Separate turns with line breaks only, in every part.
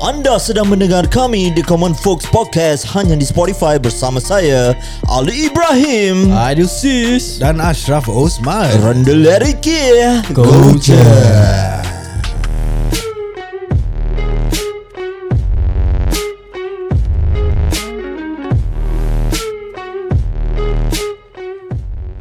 Anda sedang mendengar kami di Common Folks Podcast hanya di Spotify bersama saya Ali Ibrahim,
Ah.
Adil sis
dan Ashraf Osman.
Randall Eriki.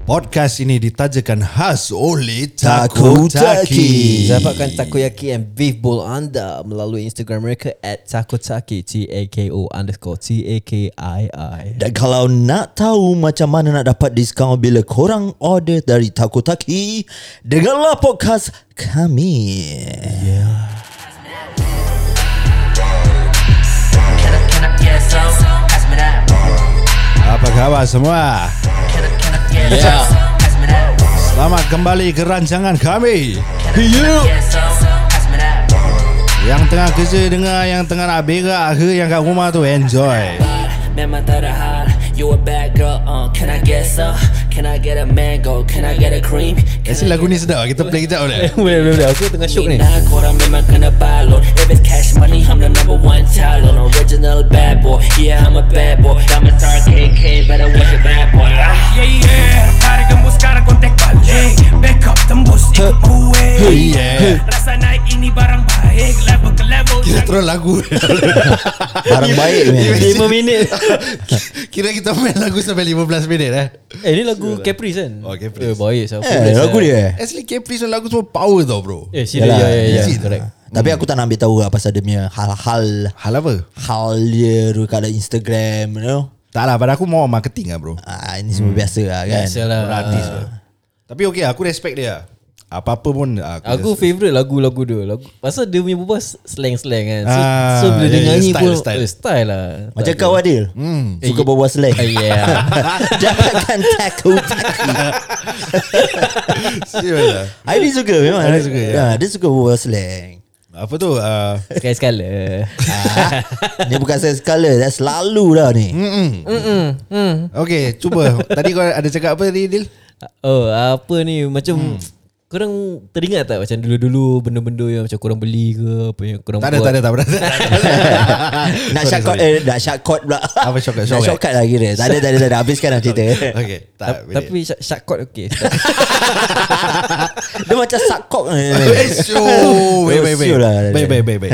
Podcast ini ditajakan khas oleh
Takotaki.
Takotaki.
Dapatkan takoyaki and beef bowl anda melalui Instagram mereka at takotaki T-A-K-O underscore T-A-K-I-I
Dan kalau nak tahu macam mana nak dapat diskaun bila korang order dari Takotaki, dengarlah podcast kami.
Can I, can I get some? Pass me that.
Apa khabar semua?
Can I, can I get
Yeah.
some? Pass me that.
Selamat kembali ke rancangan kami.
Get some. Pass me that.
Yang tengah kerja dengar, yang tengah nak berak ke, yang kat rumah tu enjoy.
Memang terhad You a bad girl uh, Can I get some? Can I get a mango? Can I get a cream? Can
Actually lagu ni sedap. Kita play kejap boleh?
Boleh boleh boleh Aku tengah syok ni
Nah, korang memang kena balon If it's cash money, I'm the number one talent Original bad boy, yeah, I'm a bad boy I'm a star KK, better watch your bad boy ah.
Yeah, yeah, tarik gembus sekarang kontak balik Backup tembus ikut gue
Yeah.
Rasa naik ini barang baik Level ke level
Kita terus lagu.
Barang baik man.
5 minit
Kira kita main lagu sampai 15 minit eh.
Eh ni lagu Caprice kan
Oh, Caprice.
Eh baik saya
Eh, lagu dia.
Actually Caprice lagu semua power tau bro.
Eh sila ya ya ya
Is it?
Correct
Tapi aku tak nak ambil tahu lah pasal dia punya hal-hal
Hal apa?
hal dia tu kat dalam Instagram you know.
Tak lah pada aku more marketing lah bro.
Ah, ini semua biasa lah kan.
Biasalah
Artis uh.
Ah.
Tapi okay aku respect dia. Apa-apa pun ah, aku,
Aku
respect.
favourite lagu-lagu dia lagu, Pasal dia punya berbual Slang-slang kan So,
Ah,
so bila
ya,
dia
ya,
nyanyi
style,
pun
style.
eh, style lah
Macam
Tak
kau
ada.
Adil hmm.
Eh,
Suka berbual slang
Ah, Yeah
Jangan takut
Serius lah.
Adil suka memang
Adil suka, ya.
Ah, Dia suka berbual slang
Apa tu? Uh,
Sekali-sekala
ah, Ni bukan saya sekala Dah selalu dah ni
Hmm.
mm.
okay cuba. Tadi kau ada cakap apa tadi Dil?
Oh apa ni Macam Korang teringat tak Macam dulu-dulu Benda-benda yang macam korang beli ke Apa yang korang
Tak ada, tak ada, tak ada. tak ada.
Nak
Sorry,
shortcut
sorry.
eh, Nak shortcut pula
Apa shortcut?
Nak
Shortcut.
shortcut lah kira Tak ada tak ada, tak ada. Habiskan lah cerita
Okay, tak.
Ta- Tapi shot, shot court okay
Dia macam sakok
Eh, syuh. Baik, baik, baik.
Syuh lah.
Baik, baik, baik, baik.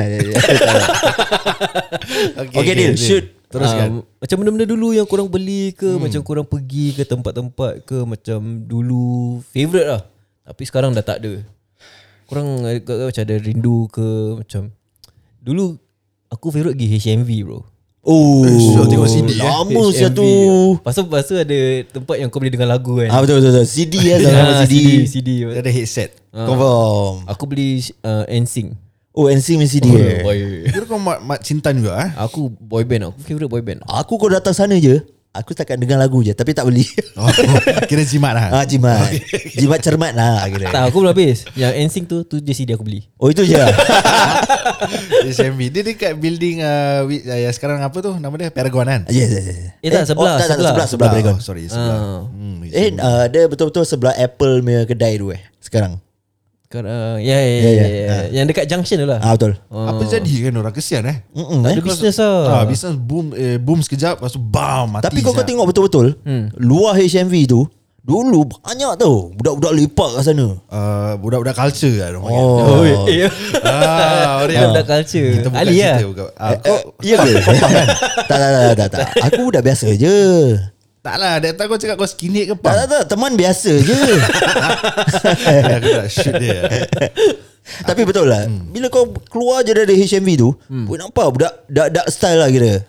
Okay Dil Shoot Hmm.
Teruskan.
Um, Macam benda-benda dulu Yang korang beli ke Macam korang pergi ke tempat-tempat ke Macam dulu Favorite lah Tapi sekarang dah tak ada Korang ada- kau- kau macam ada rindu ke Macam Dulu Aku favorite pergi HMV bro
Oh,
syok, tengok CD, eh.
Lama
HMV.
siapa tu
Pasal pasal ada tempat yang kau boleh dengar lagu kan
Ah betul betul, betul. CD ya sama
Ah,
CD.
CD,
Dia ada headset. Ah.
Confirm.
Aku beli uh, NSYNC
Oh NC main CD. eh.
Boy.
Kira kau mat, mat cintan juga
Ah.
eh?
Aku boy band Aku favourite boy band
Aku kau datang sana je, aku setakat dengar lagu je tapi tak beli.
Oh, kira jimat lah.
ah jimat. Jimat cermat lah kira.
Tak aku belum habis Yang NSYNC tu Tu je CD aku beli
Oh itu je.
SMB. Dia dekat building uh, wi- uh, yang sekarang apa tu? Nama dia Paragon kan?
Yes, yes, yes.
Eh, tak, sebelah,
oh, tak, tak, Ya,
sebelah.
sebelah, sebelah Paragon.
Oh, sorry, sebelah.
Ah.
Hmm,
Eh, uh, dia betul-betul sebelah Apple punya kedai tu eh sekarang.
Sekarang Ya ya
Ya,
ya
ya.
ya. Yang dekat junction tu lah
Ah betul.
Apa jadi kan orang? Kesian eh?
Mm-mm,
Tak
eh.
ada bisnes
Ah,
lah
business boom eh, boom sekejap lepas tu bam mati.
Tapi kau kau
sekejap.
tengok betul-betul luar HMV tu dulu banyak tau budak-budak lepak kat sana.
uh, budak-budak culture lah orang panggil.
Oh.
eh, eh.
Ah, orang
Budak culture.
Kita bukan
Ali
Ali
lah.
cerita bukan. Ah, kau,
Ya ke? tak, tak, tak, tak, tak. Aku budak biasa je.
tak lah, dia tahu kau cakap kau skinhead ke
Tak,
pang.
tak, tak. Teman biasa je.
Aku tak shoot dia.
Tapi betul lah. Bila kau keluar je dari HMV tu, hmm. boleh nampak budak dak dak style lah kira.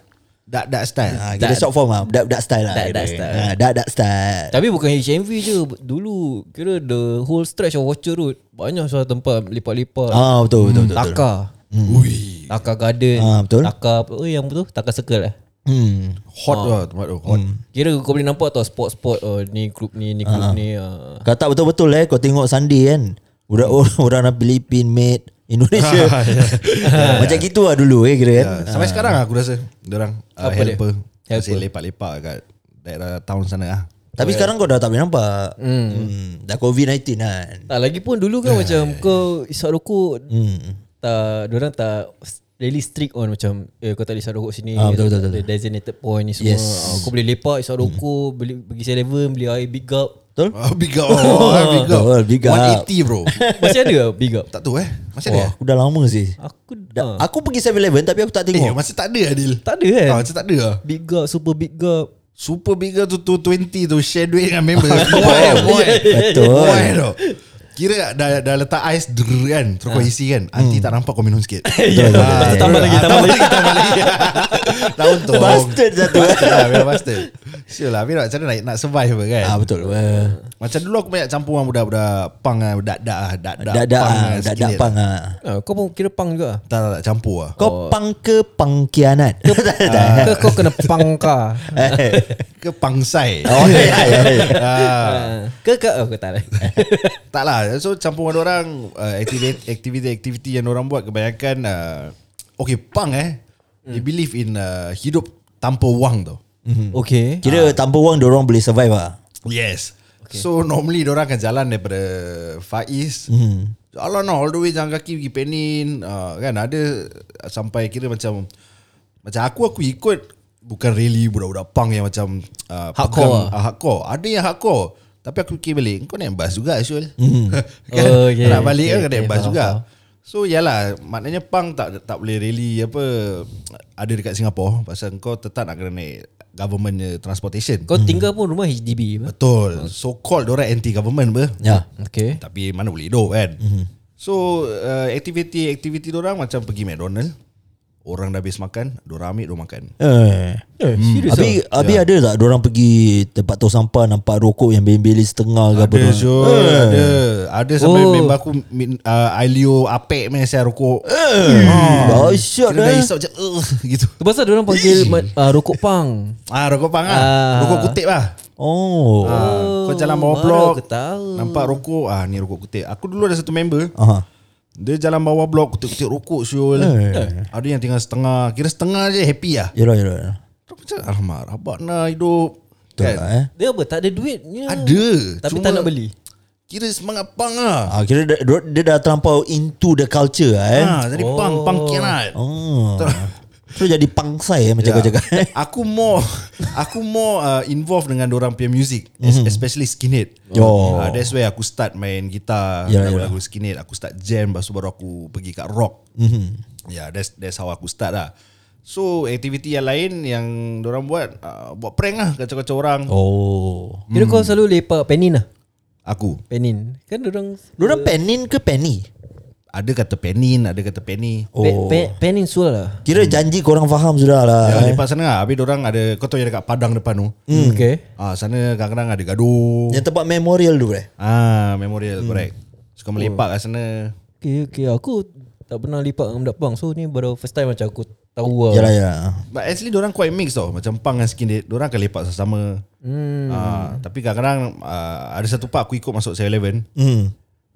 Dak dak style. Ah,
Ha, kira short form lah. Budak dak style lah.
Dak-
kira.
dak style.
Ha, dak dak style.
Tapi bukan HMV je Dulu Kira the whole stretch of Watcher Road Banyak suara tempat Lipat-lipat
Ah betul betul betul. betul.
Taka
Ui,
Taka Garden
Ah, betul.
Taka Oh yang tu Taka Circle lah
Hmm.
hot lah tempat tu. Hot.
Kira kau boleh nampak tau Spot-spot oh, Ni grup ni Ni grup ni ah.
Kau tak betul-betul eh kau tengok Sunday kan. Budak orang, orang Filipin mate Indonesia. Macam gitu lah dulu eh kira kan.
Ah, Sampai sekarang aku rasa orang uh,
Apa dia?
helper.
Helper.
Masih lepak-lepak kat daerah town sana ah.
Tapi sekarang kau dah tak boleh nampak. ya. Hmm. Dah COVID-19 kan.
Tak lagi pun dulu kan macam kau isap rokok
Eh. Hmm.
tak orang tak really strict on macam eh, kau tak boleh isap rokok sini.
Ah, betul, betul,
Ada
betul.
Designated point ni
Yes.
semua.
Hmm.
Ah, kau boleh lepak isap rokok, beli pergi 7-Eleven, beli air big up.
Betul?
Oh, big up. Oh, big up.
Oh, big up.
180 bro.
Masih ada lah big up?
tak tahu eh. Masih ada?
Wah,
eh?
aku dah lama sih.
Aku
Da,
dah.
aku pergi 7-Eleven tapi aku tak
Eh,
tengok.
masih tak ada Adil.
tak ada kan?
Ah, macam tak ada lah.
Big up, super big up.
Super big up tu 220 tu share duit dengan member. boy, boy.
Betul.
Boy tu. Kira dah, dah letak ais drrr, kan Terus kau isi kan Nanti tak nampak kau minum sikit
Betul, betul, betul.
Ah,
Ah. Ya. Tambah
ah,
lagi, tambah lagi.
Tambah lagi Tak untung
Bastard satu.
Bastard lah Memang bastard Sure lah Memang macam mana nak, nak survive apa kan
Ah betul. Eh,
Macam dulu aku banyak campur dengan budak-budak Pang lah Dak-dak lah Dak-dak
Dak-dak
punk
ah,
lah
dak-dak
sikit.
pang ah.
Ah, kau pun kira pang juga.
Tak tak tak campur lah
Kau pang ke pangkianat? Ah.
Kau, kau kena pangka.
Ah. Ke pangsai
Oh, ya, ya, ya.
ah,
Ke ke oh, kau tak ada.
Tak lah So campur dengan orang uh, activity- Aktiviti-aktiviti yang orang buat Kebanyakan uh, Okay pang eh They
Hmm.
believe in uh, Hidup tanpa wang tau
Okay.
Ah.
Kira tanpa wang orang boleh survive ah.
Yes. Okay. So normally orang akan jalan daripada Faiz. Mm.
Hmm.
Jalan lah all the way jalan kaki pergi Penin. Uh, kan ada sampai kira macam macam aku aku ikut bukan really budak-budak punk yang macam uh,
Hardcore lah.
uh, hardcore. Ada yang hardcore. Tapi aku fikir balik Kau naik bas juga Syul kan? oh,
Oh, okay.
yeah. Nak balik
Okay,
kan kau naik
okay,
bas
faham,
juga
faham.
So yalah Maknanya punk tak tak boleh really Apa Ada dekat Singapore Pasal kau tetap nak kena naik Government transportation
Hmm.
Kau tinggal pun rumah HDB. apa?
Betul. So called orang anti government ber.
Ya.
Okay.
Tapi mana boleh hidup kan. Mm-hmm. So uh, aktiviti-aktiviti orang macam pergi McDonald. Orang dah habis makan, orang ambil orang makan.
Eh.
Eh, serius
Abi
ah?
abi
Ya.
ada tak orang pergi tempat tong sampah nampak rokok yang beli-beli setengah ke apa?
Ada
tu?
Syul, ada. Ada sampai
Oh.
oh. member aku min- uh, Ailio Apek main saya rokok.
Oh,
Kira
syok
dah
dah.
hisap macam uh, gitu.
Tu pasal orang panggil uh, rokok pang.
Ah rokok pang ah.
Ah.
Rokok kutip lah.
Oh.
Ah, kau jalan bawah
baru
blok.
aku tahu.
Nampak rokok. Ah ni rokok kutip. Aku dulu ada satu member.
Aha.
Dia jalan bawah blok Kutik-kutik rokok Syul eh. Ada yang tinggal setengah Kira setengah je happy lah
Yalah yalah.
Terus Macam alamak Rabak nak hidup
Betul
kan?
lah, eh.
Dia apa? Tak ada duitnya.
Ada
Tapi tak nak beli.
Kira semangat pang lah
Ah, kira dia, dia dah terlampau into the culture lah, eh.
eh? ha, Jadi oh. pang Pang kianat
Oh. Terus jadi pangsai eh, macam
Ya.
kau cakap.
Ah. Aku more Aku more uh, involved dengan orang punya music mm-hmm. Especially skinhead
Oh.
Ah, That's where aku start main gitar
Yalah,
Lagu-lagu
yalah.
skinhead Aku start jam Lepas tu baru aku pergi kat rock mm-hmm. Yeah that's, that's how aku start lah So aktiviti yang lain Yang orang buat uh, Buat prank lah Kacau-kacau orang oh.
Oh.
Kira kau selalu lepak penin lah.
Aku
Penin. Kan orang
Diorang penin ke penny?
Ada kata penin Ada kata penny
Oh.
pe, pe, peninsula lah.
Kira janji korang faham sudah lah.
Hmm. Ya,
eh.
lepas sana lah Habis orang ada Kau tahu yang dekat Padang depan tu
Hmm. Okay.
Ah, Sana kadang-kadang ada gaduh
Yang tempat memorial tu eh.
Ah, Memorial correct Suka melepak kat sana
Okay, okay. Aku tak pernah lepak dengan budak pang. So ni baru first time macam aku tahu lah.
Yalah yalah.
But actually orang quite mix tau Macam punk dan skinhead Diorang akan lepak sama-sama hmm. Tapi kadang-kadang ah, Ada satu part aku ikut masuk 7-Eleven
Hmm.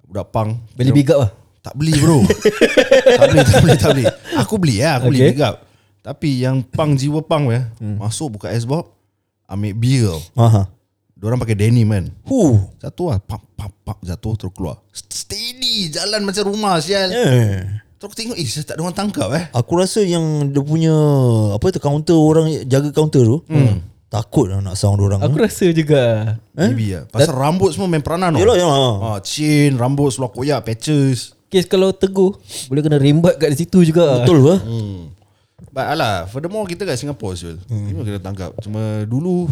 Budak punk
Beli big up lah.
Tak beli bro Tak beli tak beli tak beli Aku beli lah Aku okay. beli
Okay.
big up Tapi yang punk jiwa punk ya, hmm. Masuk buka S-Bob Ambil beer
Aha.
Diorang pakai denim kan
Huh.
Jatuh lah Pap pap pap Jatuh terus keluar Steady Jalan macam rumah sial
Eh.
Terus aku tengok Eh sial, tak ada orang tangkap eh
Aku rasa yang dia punya apa tu counter orang jaga counter tu. Hmm. Takut lah nak sound orang.
Aku rasa juga.
Maybe lah Pasal rambut semua main peranan tau
Yalah yalah.
Ah, Chin Rambut seluar koyak Patches
Kes kalau teguh boleh kena rembat kat situ juga.
Betul ke?
Hmm.
But alah Furthermore kita kat Singapore Syul hmm. Memang kena tangkap Cuma dulu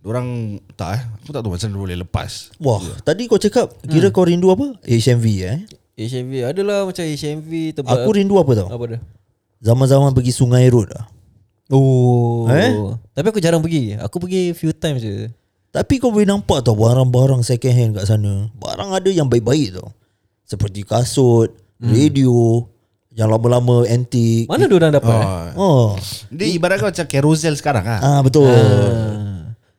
Orang tak eh Aku tak tahu macam mana boleh lepas
Wah,
Ya.
tadi kau cakap
Hmm.
kira kau rindu apa? HMV eh.
HMV adalah macam HMV tempat
Aku rindu apa tau?
apa dah.
Zaman-zaman pergi Sungai Road lah.
Oh.
Eh?
Tapi aku jarang pergi. Aku pergi few times je.
Tapi kau boleh nampak tau barang-barang second hand kat sana. Barang ada yang baik-baik tau. Seperti kasut,
Hmm.
radio, yang lama-lama antik.
Mana dia orang dapat? eh?
Oh.
Ah, Dia ibarat kau macam carousel sekarang ah.
Ah betul.
Ah.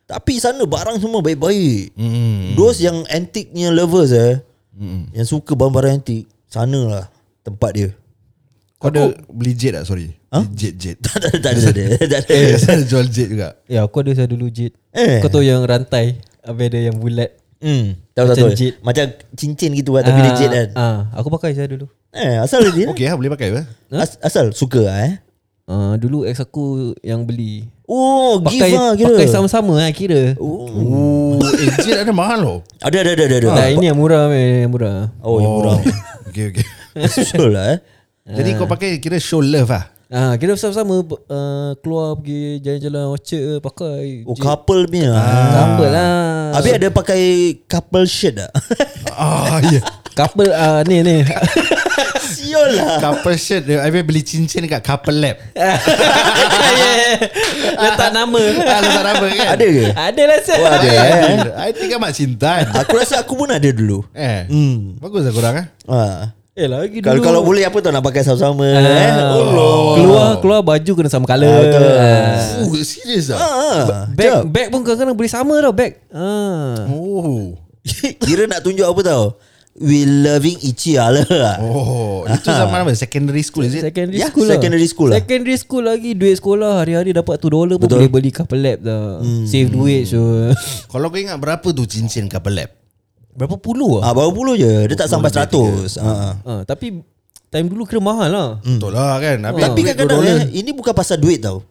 Tapi sana barang semua baik-baik. Mm. Those yang antiknya lovers eh. Mm. Yang suka barang-barang antik, sanalah tempat dia.
Kau ada beli jet tak sorry? Huh? Jet jet.
tak ada tak ada tak ada. Tak ada.
Eh, saya jual jet juga.
Ya aku ada saya dulu jit
Eh.
eh. Kau tahu yang rantai Habis ada yang bulat
Hmm, tahu tak
Macam
tahu.
jit.
Macam cincin gitu lah tapi dia
Ah,
jet kan.
ah, Aku pakai saya dulu
Eh, asal dia.
Okey lah boleh pakai apa?
As, asal suka lah eh.
Uh, dulu ex aku yang beli.
Oh, give
Pakai
lah kira.
pakai sama-sama lah kira.
Oh, eh, jean ada mahal loh.
Ada, ada, ada, ada. ada.
Nah, ini yang murah meh, yang murah.
Oh, yang murah.
okay, okay.
Oh.
Sure lah eh.
Jadi kau pakai kira show love lah.
Ah, kira sama-sama uh, keluar pergi jalan-jalan Orchard ke, pakai.
Oh, couple Ah. punya. Ah.
Couple lah.
Habis ada pakai couple shirt tak?
Ah, ya. Yeah.
Couple ah ni ni.
Siol lah.
Couple shirt. dia- Habis beli cincin dekat couple lab.
Letak nama.
Ah, letak apa kan?
Ada ke?
Ada lah sir.
Oh, ada
Ada.
eh.
I think amat cinta.
Aku rasa aku pun ada dulu.
Eh. Hmm. Bagus lah korang eh.
Ha.
Eh lagi dulu.
Kalau kalau boleh apa tau nak pakai sama-sama eh.
Oh. Keluar keluar baju kena sama colour. Ah,
Uh.
Oh, serius lah.
Ah.
bag bag pun kadang-kadang boleh sama tau bag.
Uh.
Ah.
Oh.
Kira nak tunjuk apa tau We loving each other oh.
Oh, itu zaman apa? Secondary school is it?
Secondary
Ya,
school
secondary
lah.
school lah.
Secondary school lagi duit sekolah hari-hari dapat 2 dolar pun boleh beli couple lab dah.
Hmm.
Save duit so.
Kalau kau ingat berapa tu cincin couple lab?
Berapa puluh ah?
ah, Baru puluh je Dia tak sampai seratus ah.
ah. tapi time dulu kira mahal lah.
Hmm.
Betul lah kan. Habis
Tapi
duit
kadang-kadang
$2.
eh, Ini bukan pasal duit tau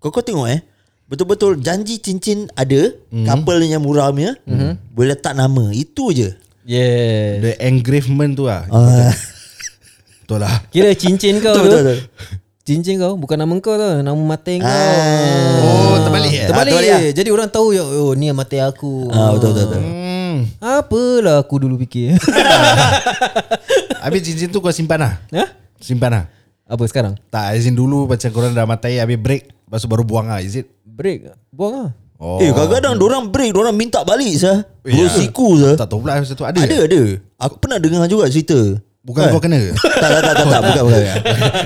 Kau kau tengok eh Betul-betul janji cincin ada mm. Couple yang murah punya mm-hmm. Boleh letak nama Itu je
Yeah.
The engravement tu lah.
ah.
Betul lah.
Kira cincin kau
Betul,
tu.
betul, betul.
Cincin kau bukan nama kau tau, nama mata kau.
Oh, terbalik eh?
Terbalik.
Ah, terbalik lah.
Jadi orang tahu ya, oh ni mata aku.
ah, Betul betul, betul.
Hmm.
Apalah aku dulu fikir.
Habis cincin tu kau simpan lah?
ha?
Simpan lah?
Apa sekarang?
Tak, as in dulu macam korang dah matai habis break. Lepas tu baru buang lah, is it?
Break. Buang ah.
Oh.
Eh kadang-kadang Diorang break Diorang minta balik sah Bro siku sah
Tak tahu pula masa tu ada.
Ada ada Aku pernah dengar juga cerita
Bukan kau kena ke?
tak, tak tak tak tak Bukan bukan Ah.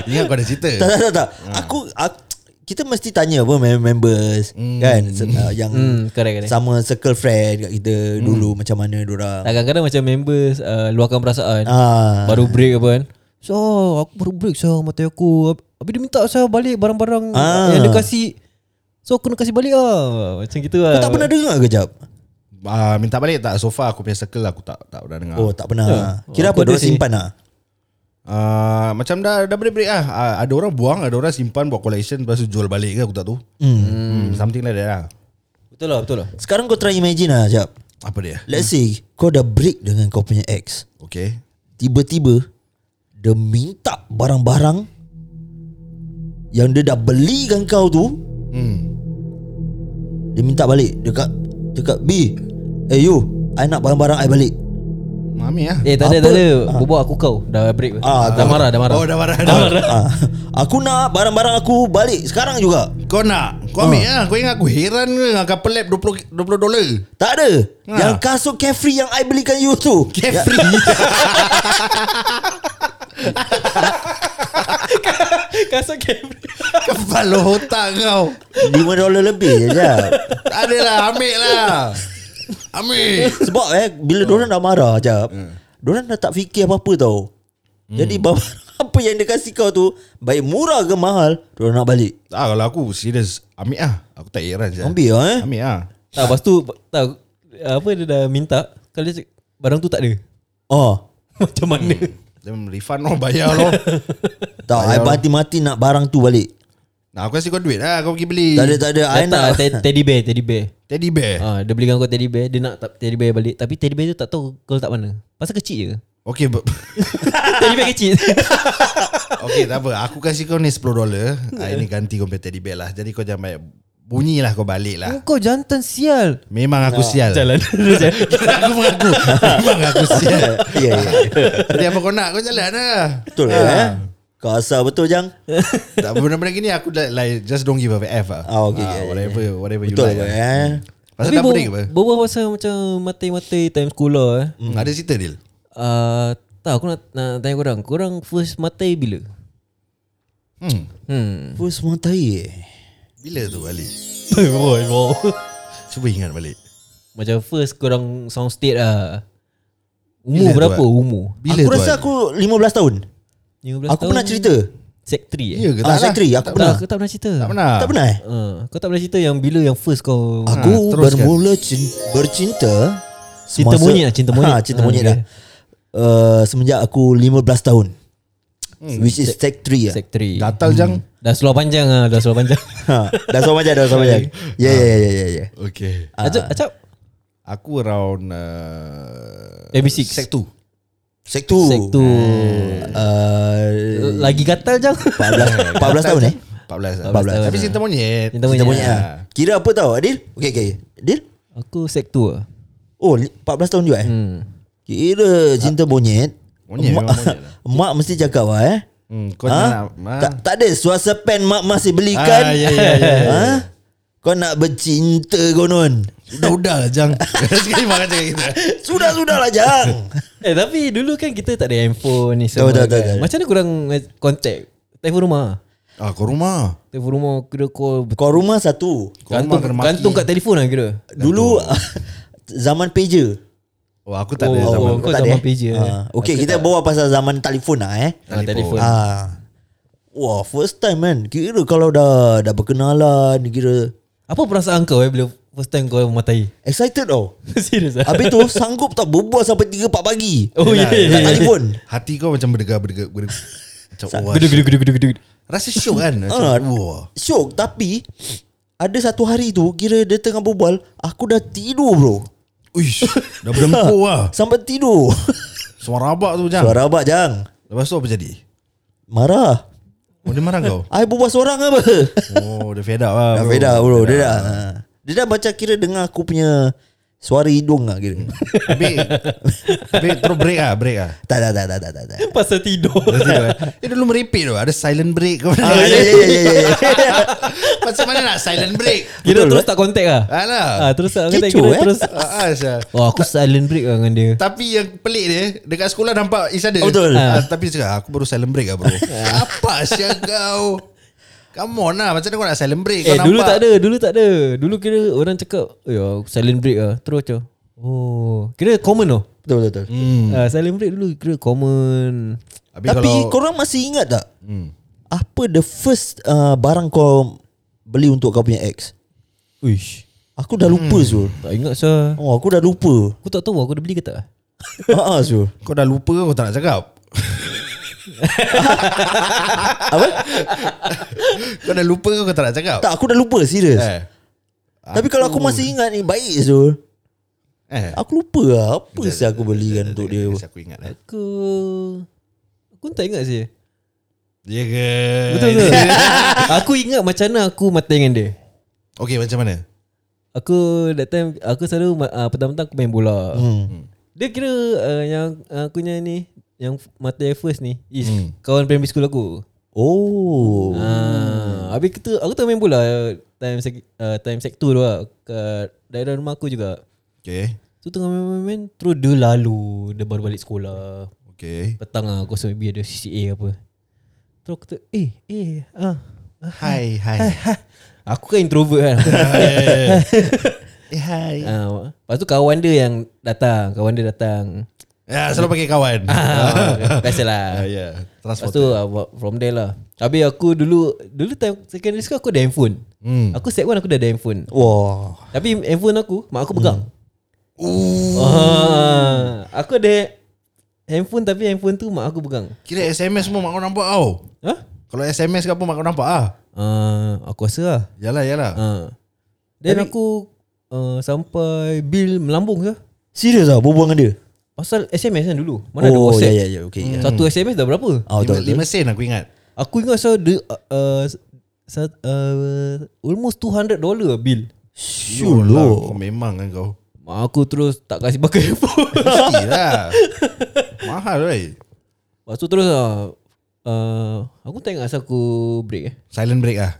Ingat kau ada cerita.
Tak tak tak, tak. Aku, aku kita mesti tanya apa mem- members mm. kan se- uh, yang
Hmm, correct, correct.
sama circle friend kat kita dulu macam mana diorang.
Tak kadang-kadang macam members uh, luahkan perasaan.
Ah.
Baru break apa kan. So, aku baru break so mata aku. Habis dia minta saya balik barang-barang
Ah.
yang dia kasih. So, aku nak kasih balik lah. Macam gitu lah.
Kau tak pernah dengar ke jap?
Ah, minta balik tak? So far aku punya circle aku tak tak pernah dengar.
Oh, tak pernah. Kira
Ya.
apa
Aku ada
dia
sih.
simpan ah.
Ah, macam dah dah break break lah. Ah, ada orang buang, ada orang simpan buat collection lepas tu jual balik ke aku tak tahu. Hmm. Something like that lah.
Betul lah, betul lah.
Sekarang kau try imagine lah jap.
Apa dia?
Let's say kau dah break dengan kau punya ex.
Okay.
Tiba-tiba dia minta barang-barang yang dia dah belikan kau tu
Hmm.
dia minta balik dekat dekat B. Eh you, I nak barang-barang I balik.
Mami lah.
Eh, tak
Apa?
ada, tak ada. Berbual aku kau. Dah break.
Ah,
dah marah, dah marah.
Oh, dah marah dah. marah.
Ah, aku nak barang-barang aku balik sekarang juga.
Kau nak? Kau ambil lah. Kau ingat aku heran ke dengan kapal lab 20 20 dolar?
Tak ada.
Ha.
Yang kasut carefree yang I belikan you tu.
Carefree.
Kasut kamera.
Kepala lo otak kau.
5 Ya, dolar lebih je jap.
Tak ada lah. Ambil lah. Ambil.
Sebab eh bila diorang dah marah jap. Diorang dah tak fikir apa-apa tau. Jadi barang apa yang dia kasih kau tu baik murah ke mahal, diorang nak balik.
Ah, kalau aku serius ambil lah. Aku tak heran je.
Ambil lah eh.
Ambil lah.
Tak, lepas tu, tak, apa dia dah minta. Kalau dia cakap, barang tu tak ada.
Oh.
Macam mana?
Then refund lo, bayar lah. lo.
Tak, I mati-mati nak barang tu balik.
Nah, aku kasih kau duit lah. Kau pergi beli.
Tak Ha. ada tak ada I
Datang
nak.
lah, te- teddy bear, teddy bear.
Teddy bear.
Ah, dia belikan kau teddy bear, dia nak tak teddy bear balik. Tapi teddy bear tu tak tahu kau letak mana. Pasal kecil je.
Okay, but,
teddy bear kecil.
okay tak apa. Aku kasih kau ni $10. Ah,
Ya.
ini ganti kau punya teddy bear lah. Jadi kau jangan banyak bunyi lah kau balik lah.
kau jantan sial.
Memang aku sial.
Jalan.
aku mengaku. Memang aku sial.
Ya ya.
Jadi apa kau nak? Kau jalan lah.
Betul lah eh. Kau asal betul jang.
Tak benda-benda gini aku like, like just don't give a F lah.
Ah, okay, okay,
whatever whatever you
Betul
like.
lah
lah.
eh.
Pasal
Tapi
tak break apa?
ber- berbual pasal macam matai-matai time sekolah eh.
Hmm, ada cerita deal.
Ah, tak, aku nak, nak tanya korang. Korang first matai bila?
Hmm.
Hmm.
First matai eh.
Bila tu balik?
Boy, wow.
Cuba ingat balik.
Macam first korang sound state lah.
Bila tu,
Umur
eh?
berapa
Ad?
umur?
Bila
aku
tu kan?
rasa aku 15
balik?
tahun.
15
Aku pernah cerita.
Sec 3 eh?
Ya ke tak
Ah,
lah?
secretary aku
Tak,
pernah.
aku tak pernah cerita.
Tak pernah.
Tak pernah eh?
Ah, kau tak pernah cerita yang bila yang first kau
Aku
Ha, teruskan.
bermula cin- bercinta
Cinta monyet lah, cinta monyet.
Ha, cinta
Ha,
monyet
okay.
dah. Uh, semenjak aku 15 tahun.
Hmm.
Which is sec 3 lah
Secretary
Gatal jang
Hmm.
Dah seluar panjang ah, dah seluar panjang.
ha, Dah sama macam Dah sama macam Ya ya
Ah.
ya ya ya
Okay
Acap, acap.
Aku around uh,
AB6.
Sec Ah. 2
Sec 2
Sec tu.
Eh,
Hmm.
uh,
Lagi gatal jang.
14, 14 tahun eh
14 14
14.
Tapi cinta monyet
Kita
Cinta monyet.
punya lah Kira apa tau Adil Okay okay Adil
Aku sec 2 ah.
Oh li- 14 tahun juga eh hmm. Kira cinta monyet
Monyet,
Mak,
memang monyet lah.
mak mesti cakap lah eh
Hmm, kau
Ha?
nak ha?
Tak, tak ada Suasa pen mak masih belikan
Ah, ya, ya, ya, ya,
ha? Kau nak bercinta konon
Udah-udah lah jang Sekali makan cakap kita
Sudah-sudah lah Jang
Eh tapi dulu kan kita tak ada handphone ni semua.
Betul, betul,
kan.
betul.
Macam mana kurang kontak? Telefon rumah.
Ah, kau rumah
Telefon rumah kira call
Kau rumah satu
Kau
gantung
rumah kena maki.
gantung kat telefon lah kira.
Dulu Zaman pager
Oh aku tak ada
Oh,
zaman
kau
tak ada,
zaman
eh?
pager.
Ah, Okay
Aku
kita bawa pasal zaman telefon lah eh
Ah, telefon.
Ah. Wah first time kan Kira kalau dah Dah berkenalan Kira
Apa perasaan kau eh bila first time kau mematai?
Excited tau
Serius ah.
Habis tu sanggup tak berbual sampai 3 4 pagi.
Oh ya.
Kat
Yeah, yeah.
telefon.
Hati kau macam berdegar-berdegar berdegar. Macam wah
Gedu gedu gedu gedu gedu.
Rasa syok kan Macam
Ah,
wah
Syok tapi ada satu hari tu kira dia tengah berbual, aku dah tidur bro.
Uish Dah berdengkur lah
Sampai tidur.
Suara abak tu jang
Suara abak jang.
Lepas tu apa jadi
Marah.
Oh dia marah kau
Ai berbual seorang apa?
Oh dia fed up lah
Dah
bro.
beda bro, dia dah. ha. Dia dah macam kira dengar aku punya suara hidung lah kira.
Habis Habis terus break lah Break lah
tak tak tak tak tak tak. tak.
Pasal tidur.
Lepas tu, Eh dulu merepek tu Ada silent break kau
Ah, ya, ya, ya, ya, ya.
Macam mana nak silent break
Kira terus tak kontak ah.
Alah.
Ah terus tak kontak
Kecoh,
kira
eh?
terus.
Ah, ah, Syah.
Oh aku silent break lah dengan dia.
Tapi yang pelik dia Dekat sekolah nampak Is ada
Oh, betul.
ah, Tapi dia cakap Aku baru silent break lah bro Apa Syah kau Come on lah Macam mana kau nak silent break
Eh
kau
dulu
nampak?
tak ada Dulu tak ada Dulu kira orang cakap "Eh, Ya silent break lah Terus macam Oh Kira common tau
Betul betul betul.
hmm. uh, Silent break dulu Kira common
Habis
Tapi
kalau-
korang masih ingat tak? Hmm. Apa the first uh, barang kau beli untuk kau punya ex?
Uish
Aku dah lupa hmm. Zul.
Tak ingat sah
Oh, aku dah lupa.
Aku tak tahu aku dah beli ke tak
Ha ah, Zul.
Kau dah lupa ke kau tak nak cakap? Apa? kau dah lupa ke kau tak nak cakap?
Tak, aku dah lupa serius. Eh,
Eh.
Tapi kalau aku masih ingat ni baik Zul.
Eh.
Aku lupa lah apa sih aku belikan untuk dia.
Yes, aku ingat eh.
Aku Aku pun tak ingat sih
Ya ke?
Betul ke Aku ingat macam mana aku mata dengan dia
Okey macam mana?
Aku that time Aku selalu uh, Petang-petang aku main bola hmm. Dia kira uh, Yang uh, aku punya ni Yang mata yang first ni Is Kawan primary school aku
Oh.
Ah, habis kita aku tengah main bola ah, time sec, uh, time sec 2 tu lah kat daerah rumah aku juga.
Okey.
Tu tengah main-main terus dia lalu, dia baru balik sekolah.
Okey.
Petang lah aku rasa maybe ada CCA apa. Terus aku tu eh eh ah.
Hai hai.
Aku kan introvert kan.
Eh, Hai.
ah, lepas tu kawan dia yang datang, kawan dia datang.
Ya, selalu pakai kawan.
Ah, biasalah.
Ah, ya.
Lepas
Transport.
tu ah, from there lah. Habis aku dulu dulu time secondary school aku ada handphone.
Hmm.
Aku set one aku dah ada handphone.
Wah.
Tapi handphone aku Mak aku pegang
Uh, Hmm.
Ooh. Ah, Aku ada Handphone tapi handphone tu Mak aku pegang
Kira SMS semua mak kau nampak tau.
Ha?
Kalau SMS ke apa mak kau nampak ah.
Ah, aku rasa lah
Yalah yalah.
ah. Then aku uh, Sampai Bil melambung ke
Serius ah berbual dengan dia?
Pasal SMS kan dulu Mana ada
oh,
WhatsApp Hmm.
ya ya ya okey. ya.
Satu SMS dah berapa
Ah, betul,
Lima,
betul.
lima sen aku ingat.
Aku ingat so the, uh, uh, uh, Almost 200 dollar bill
Syul
Yolah,
lo.
Kau memang kan kau.
Mak aku terus tak kasih pakai handphone
Mestilah. Mahal right.
Lepas tu terus uh, uh, Aku tak ingat asal aku break eh
Silent break ah.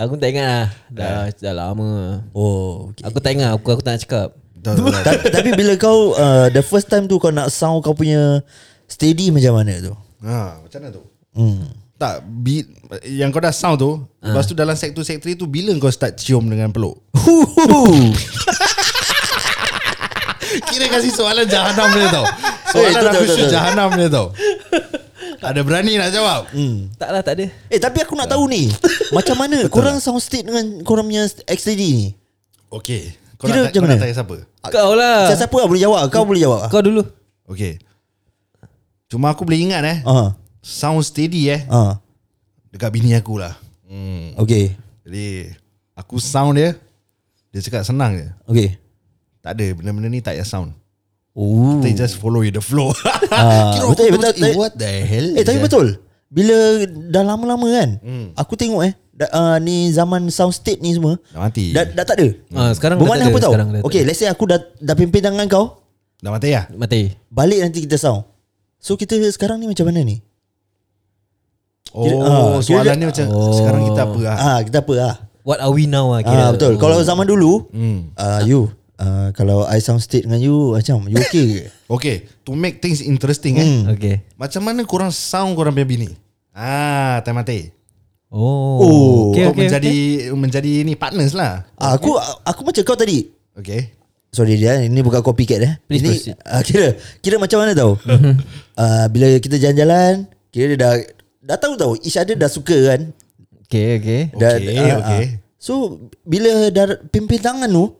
Aku tak ingat lah Dah, dah lama
Oh, okay.
Aku tak ingat Aku, aku tak nak cakap
tapi, tapi bila kau uh, the first time tu kau nak sound kau punya steady macam mana tu?
ha, macam mana tu?
Hmm.
Tak, bi, yang kau dah sound tu, ha. lepas tu dalam sek 2 sek 3 tu bila kau start cium dengan peluk? Kira kasih soalan jahanam dia tau.
Eh,
Soalan
betul,
aku
betul,
shoot
betul.
jahanam dia tau. Ada berani nak jawab?
hmm. Tak lah tak ada
Eh tapi aku nak tahu ni Macam mana
lah.
Korang sound state dengan Korang punya XTD ni
Okay. Kau
Kira
nak,
macam
kau nak
mana?
tanya siapa?
Kau lah
Siapa siapa lah boleh jawab Kau boleh jawab
Kau dulu
Okay. Cuma aku boleh ingat eh.
Ah.
sound steady eh
Ah,
dekat bini aku lah. Hmm.
okay.
Jadi aku sound dia dia cakap senang je.
Okay.
Tak ada benda-benda ni tak payah sound.
Oh.
They just follow you the flow.
Ah,
Kira aku
betul,
macam,
betul,
eh,
betul.
what the hell?
Eh tapi
is that?
betul. Bila dah lama-lama kan,
Hmm.
aku tengok eh da, uh, ni zaman soundstage ni semua.
Dah mati.
Dah, dah tak ada.
Ah, sekarang dah
Bermakna
tak ada,
apa tahu?
sekarang dah tak
Okay,
ada.
let's say aku dah dah pimpin tangan kau,
Dah mati lah.
Mati.
balik nanti kita sound. So kita sekarang ni macam mana ni?
Oh,
Kira- ah, kira-
soalan ni macam
Oh.
sekarang kita apa lah?
Ah, kita apa ah?
What are we now
Ah,
lah kira.
betul. Kalau zaman dulu,
Hmm.
ah you ah, kalau I soundstage dengan you macam you okay ke?
Okay, to make things interesting
Hmm.
eh.
Okay.
Macam mana korang sound korang punya bini? Ah, time mati.
Oh.
Oh,
kau menjadi menjadi ni partners lah.
Ah, aku aku macam kau tadi.
Okay.
Sorry dia Ini bukan copycat eh
Please
ini,
proceed.
uh, Kira Kira macam mana tau uh, Bila kita jalan-jalan Kira dia dah Dah tahu tau Each other dah suka kan
Okay, okay.
dah,
Okay,
ah,
okay.
ah. So Bila dah pimpin tangan tu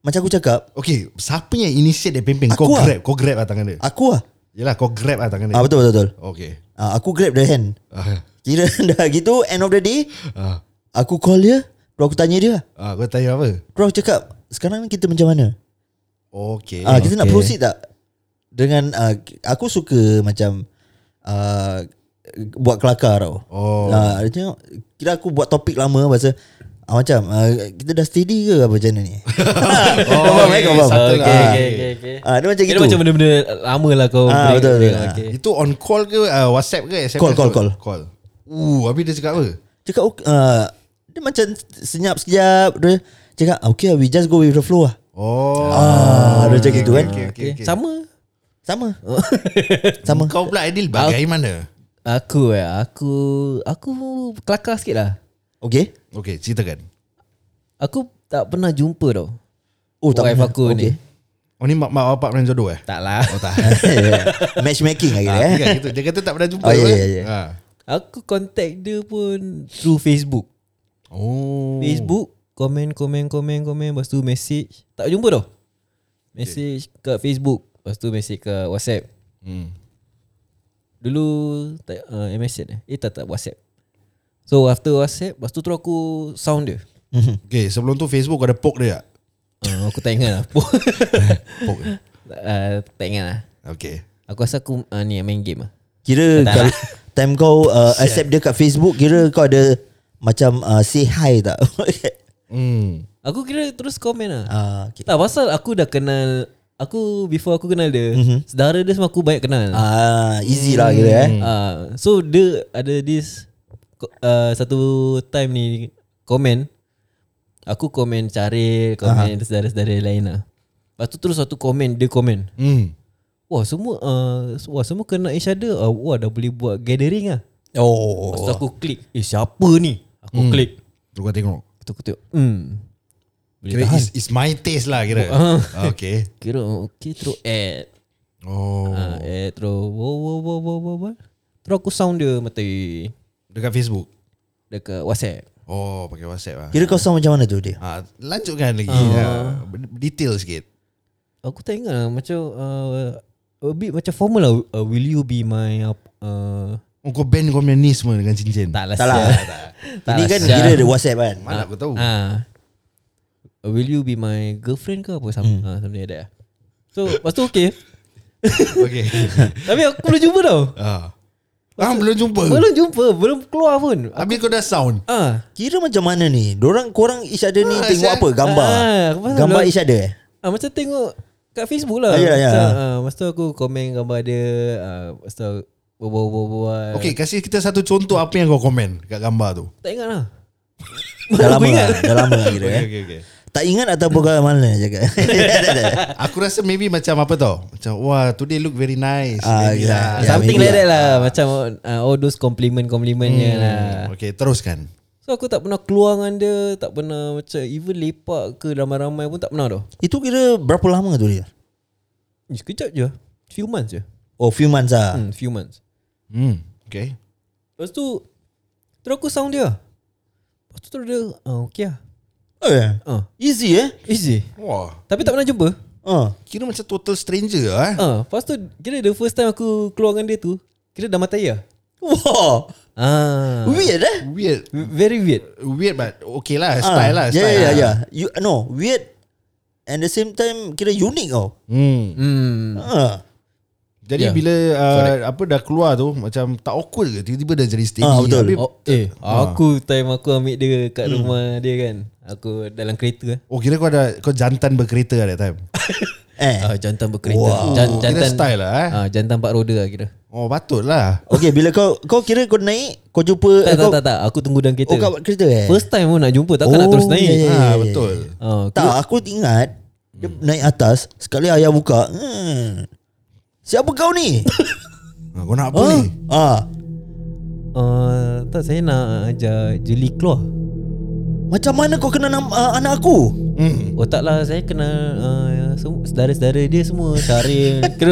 Macam aku cakap
Okay, siapa yang initiate dia pimpin? Kau
Aku lah.
grab, kau grab lah tangan dia.
Aku lah
Yelah, kau grab lah tangan dia.
ah, Betul betul betul
Okay.
ah, Aku grab the hand
Ah,
Kira dah gitu End of the day
ah,
Aku call dia Terus aku tanya dia
ah, kau tanya apa?
Terus aku cakap Sekarang ni kita macam mana
Okay.
Ah, kita nak
Okay.
proceed tak? Dengan uh, aku suka macam uh, buat kelakar tau.
Oh.
Ah, dia tengok, kira aku buat topik lama pasal ah, macam ah, kita dah steady ke apa macam mana ni? oh, kau faham, eh, kau faham.
satu lah.
Okay, okay, okay, okay, okay.
Ah, dia macam
Kira
gitu.
macam benda-benda lama lah kau
Ah,
break.
betul, betul.
Okay.
Eh, Itu on call ke uh, WhatsApp ke SMS?
Call, call,
ke?
call.
Call. Uh, habis dia cakap apa?
Cakap ok- ah, dia macam senyap sekejap dia cakap ah, okay we just go with the flow lah.
Oh.
Ah, dia macam gitu kan.
Okay, okay, okay.
Sama.
Sama. Sama.
Kau pula Adil bagaimana?
Aku eh, aku aku kelakar sikit lah.
Okay.
Okay, ceritakan.
Aku tak pernah jumpa tau.
Oh, tak
wife
pernah.
aku ni.
Okay.
Oh ni mak mak bapak main jodoh eh?
Tak lah.
Oh tak.
Matchmaking
Ah,
akhirnya eh.
kan, gitu. Dia kata tak pernah jumpa.
Oh, ya,
eh?
ya, ya.
Ah.
Aku contact dia pun through Facebook.
Oh.
Facebook Komen komen komen komen Lepas tu message Tak jumpa tau Message kat Facebook Lepas tu message kat Whatsapp
Hmm.
Dulu tak, uh, MSN eh Eh tak tak Whatsapp So after Whatsapp Lepas tu terus aku sound dia
Okay, sebelum tu Facebook kau ada poke dia tak?
uh, Aku tak ingat lah
Poke.
uh, Tak ingat lah
Okay.
Aku rasa aku uh, ni main game lah
Kira
Tak
kal-
lah.
time kau uh, accept dia kat Facebook kira kau ada macam uh, say hi tak?
Hmm.
Aku kira terus komen lah
Ah okay.
Tak pasal aku dah kenal Aku before aku kenal dia Sedara dia semua aku banyak kenal
Mhm. Ah easy lah kira eh.
Ah, so dia ada this ko- uh, satu time ni komen aku komen cari komen uh-huh. saudara-saudara lain lah. Lepas tu terus satu komen dia komen.
Hmm.
Wah semua uh, wah semua kena each other. Uh, wah dah boleh buat gathering ah.
Oh.
Lepas tu aku klik, eh siapa ni? Aku klik.
Tu kau tengok.
Lepas tu aku tengok, hmm. Boleh
Kira
tahan.
is, is my taste lah kira. Okay.
Kira okay terus add.
Oh.
Oh. Uh, add terus. Wow wow wow wow wow. wow. Terus aku sound dia mati
Dekat Facebook.
dekat WhatsApp.
Oh, pakai WhatsApp lah.
Kira kau sound macam mana tu dia?
Ha, lanjutkan lagi.
Ah.
Uh. Detail sikit.
Aku tak ingat lah Macam uh, A bit macam formal lah uh, Will you be my uh,
Oh, kau band kau punya ni semua dengan cincin.
Tak lah
Tak lah.
sial.
Ini
lah
kan
sial.
kira dia WhatsApp kan.
Mana aku tahu.
Ah. Uh, Will you be my girlfriend ke apa Some,
Hmm.
ah, Something like that lah. So lepas tu okay
Okay.
Tapi aku belum jumpa tau
Ah. Ah, belum jumpa.
Belum jumpa Belum keluar pun
Habis kau dah sound.
Ah,
Kira macam mana ni? Dorang korang each other ni
Ah,
tengok
sial.
apa? Gambar.
Ah, aku pasal
Gambar
belum-
each other eh.
ah, Macam tengok Kat Facebook lah
Ah, ya, ya.
Macam, ah, Lepas tu aku komen gambar dia ah, Lepas tu Berbual-bual
Okay,
Ah.
kasih kita satu contoh apa yang kau komen kat gambar tu.
Tak ingat lah
Dah lama lah. Dah lama lah kira eh.
okay, okay.
Tak ingat atau bukan mana je kan?
Aku rasa maybe macam apa tau. Macam, wah, today look very nice.
Ah,
Maybe
yeah.
lah.
Yeah.
Something
maybe
like that lah Macam uh, All those compliment-complimentnya hmm.
Ya.
lah
Okay, teruskan.
So aku tak pernah keluar dengan dia Tak pernah macam Even lepak ke ramai-ramai pun tak pernah tau
Itu kira berapa lama tu dia?
Eh, Sekejap je Few months je
Oh few months lah.
hmm, Few months
Hmm. Okay.
Lepas tu Terus aku sound dia Lepas tu terus dia ah, Okay lah
Eh,
ah,
Easy eh.
Easy
Wah.
Tapi tak pernah jumpa
Ah.
Kira macam total stranger lah. Eh?
ah, Lepas tu Kira the first time aku keluar dengan dia tu Kira dah matai lah
Wah
Ah,
Weird eh
Weird
very weird.
Weird but Okay lah Style lah
Ah,
style
Yeah yeah
lah.
yeah you, No weird And the same time Kira unik tau
Hmm.
Hmm.
ah.
Jadi
Yeah.
bila uh, Apa dah keluar tu Macam tak awkward ke Tiba-tiba dah jadi steady
Ah, betul.
Habis,
Oh, eh, aku time aku ambil dia kat rumah dia kan. Aku dalam kereta. ah.
oh kira kau ada Kau jantan berkereta at that time
Eh
Ah, jantan berkereta. Wow. Jan,
Kira
jantan
style lah, eh?
Ah, jantan empat roda lah kira.
Oh patut lah
Okay bila kau Kau kira kau naik Kau jumpa
Tak,
eh,
tak,
kau,
tak, tak. Aku tunggu dalam kereta.
Oh, kat kereta, eh?
First time pun nak jumpa. Takkan nak
Oh,
terus naik.
yeah, yeah, yeah.
Ah Betul
Ah, aku-
Tak aku ingat Dia naik atas Sekali ayah buka hmm, Siapa kau ni?
Ah, Kau nak apa
ha?
ni
ah,
Ah, tak, saya nak ajar jeli keluar.
Macam mana kau kenal nama, ah, anak aku?
hmm.
Oh tak lah, saya kenal uh, semua, saudara-saudara dia semua. Syaril. Kira,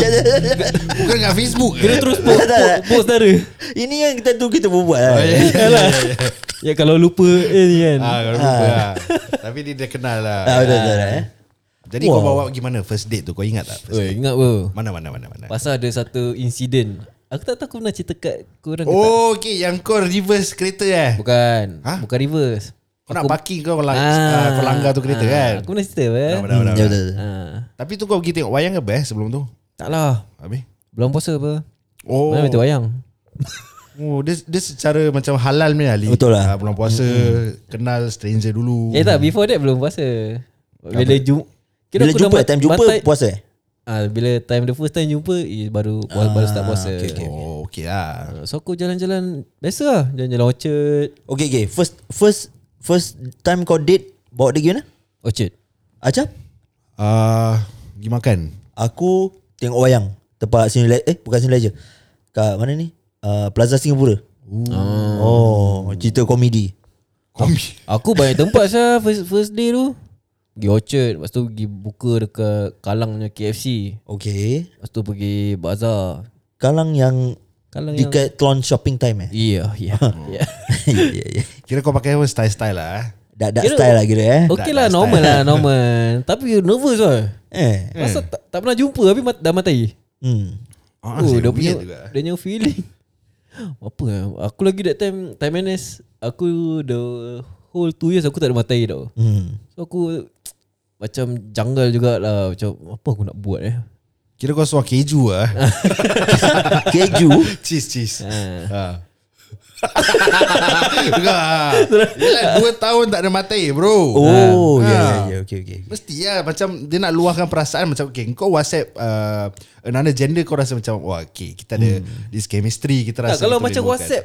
Bukan kat Facebook
kira
ke
terus post,
Tak, tak, tak.
post, post saudara.
Ini yang kita tu kita berbual lah.
Oh, ya,
Yalah. Ya kalau lupa eh ni kan.
Ah, kau lupa lah. Tapi dia dah kenal lah.
Ah, betul, betul, betul, eh?
Jadi kau bawa pergi mana first date tu? Kau ingat tak? First
Oi,
date?
ingat apa?
Mana mana mana mana.
Pasal ada satu insiden. Aku tak tahu aku pernah cerita kat korang ke tak.
Oh, okay. Yang kau reverse kereta eh.
Bukan.
Ha?
Bukan reverse.
Kau nak parking kau, kau, lang- ah, kau langgar tu kereta
ah,
kan?
Aku pernah cerita apa?
Benar,
Eh?
benar,
Ya,
benar, benar.
betul, betul.
Ah,
Tapi tu kau pergi tengok wayang ke best sebelum tu?
tak lah.
Habis?
Belum puasa apa? Oh.
Oh,
Mana betul wayang?
oh dia, dia secara macam halal ni Ali.
Betul lah. Hmm, Ya,
Ah, bulan puasa, kenal stranger dulu.
Eh tak, before that belum puasa. Bila jumpa
Bila jumpa time jumpa puasa eh?
Ah, bila time the first time jumpa eh, baru ah, baru start puasa. Okay, okay.
Oh, okay lah.
So aku jalan-jalan biasa lah, jalan-jalan Orchard.
Okay okay First First First time kau date Bawa dia pergi mana?
Orchard.
Acap
Ah, pergi makan.
Aku Tengok wayang Tempat sini le- Eh bukan sini aja Kat mana ni? Uh, Plaza Singapura Oh Cerita komedi
Kombi.
Aku banyak tempat sah first, first day tu. Pergi Orchard, lepas tu pergi buka dekat Kalang punya KFC.
Okay
Lepas tu pergi bazar.
Kalang yang
Kalang yang
Decathlon shopping time eh
Iya, iya. iya.
Ya, ya.
Kira kau pakai apa style-style lah. eh?
Dak dak
Kira-
style lah kira eh
Okay lah normal lah normal Tapi you nervous lah
Eh
Masa tak, tak pernah jumpa Tapi mat, dah matai
Hmm
Ah,
Oh, dia
weird
punya
juga.
dia punya feeling. Apa eh? Aku lagi that time time NS aku the whole two years aku tak ada matai tau.
Hmm
So aku macam janggal jugalah macam apa aku nak buat eh.
Kira kau suar keju lah.
Keju Ah.
Cheese cheese ha. Bukan ha. Yelah 2 tahun tak ada matai bro
Oh
Ah.
ya ya
Ah.
ya okay okay
Mesti lah Macam dia nak luahkan perasaan Macam okay Kau whatsapp uh, Another gender kau rasa macam Wah okay Kita ada This chemistry Kita
Hmm. Tak,
rasa kan?
kalau
kita
macam
boleh luahkan.
WhatsApp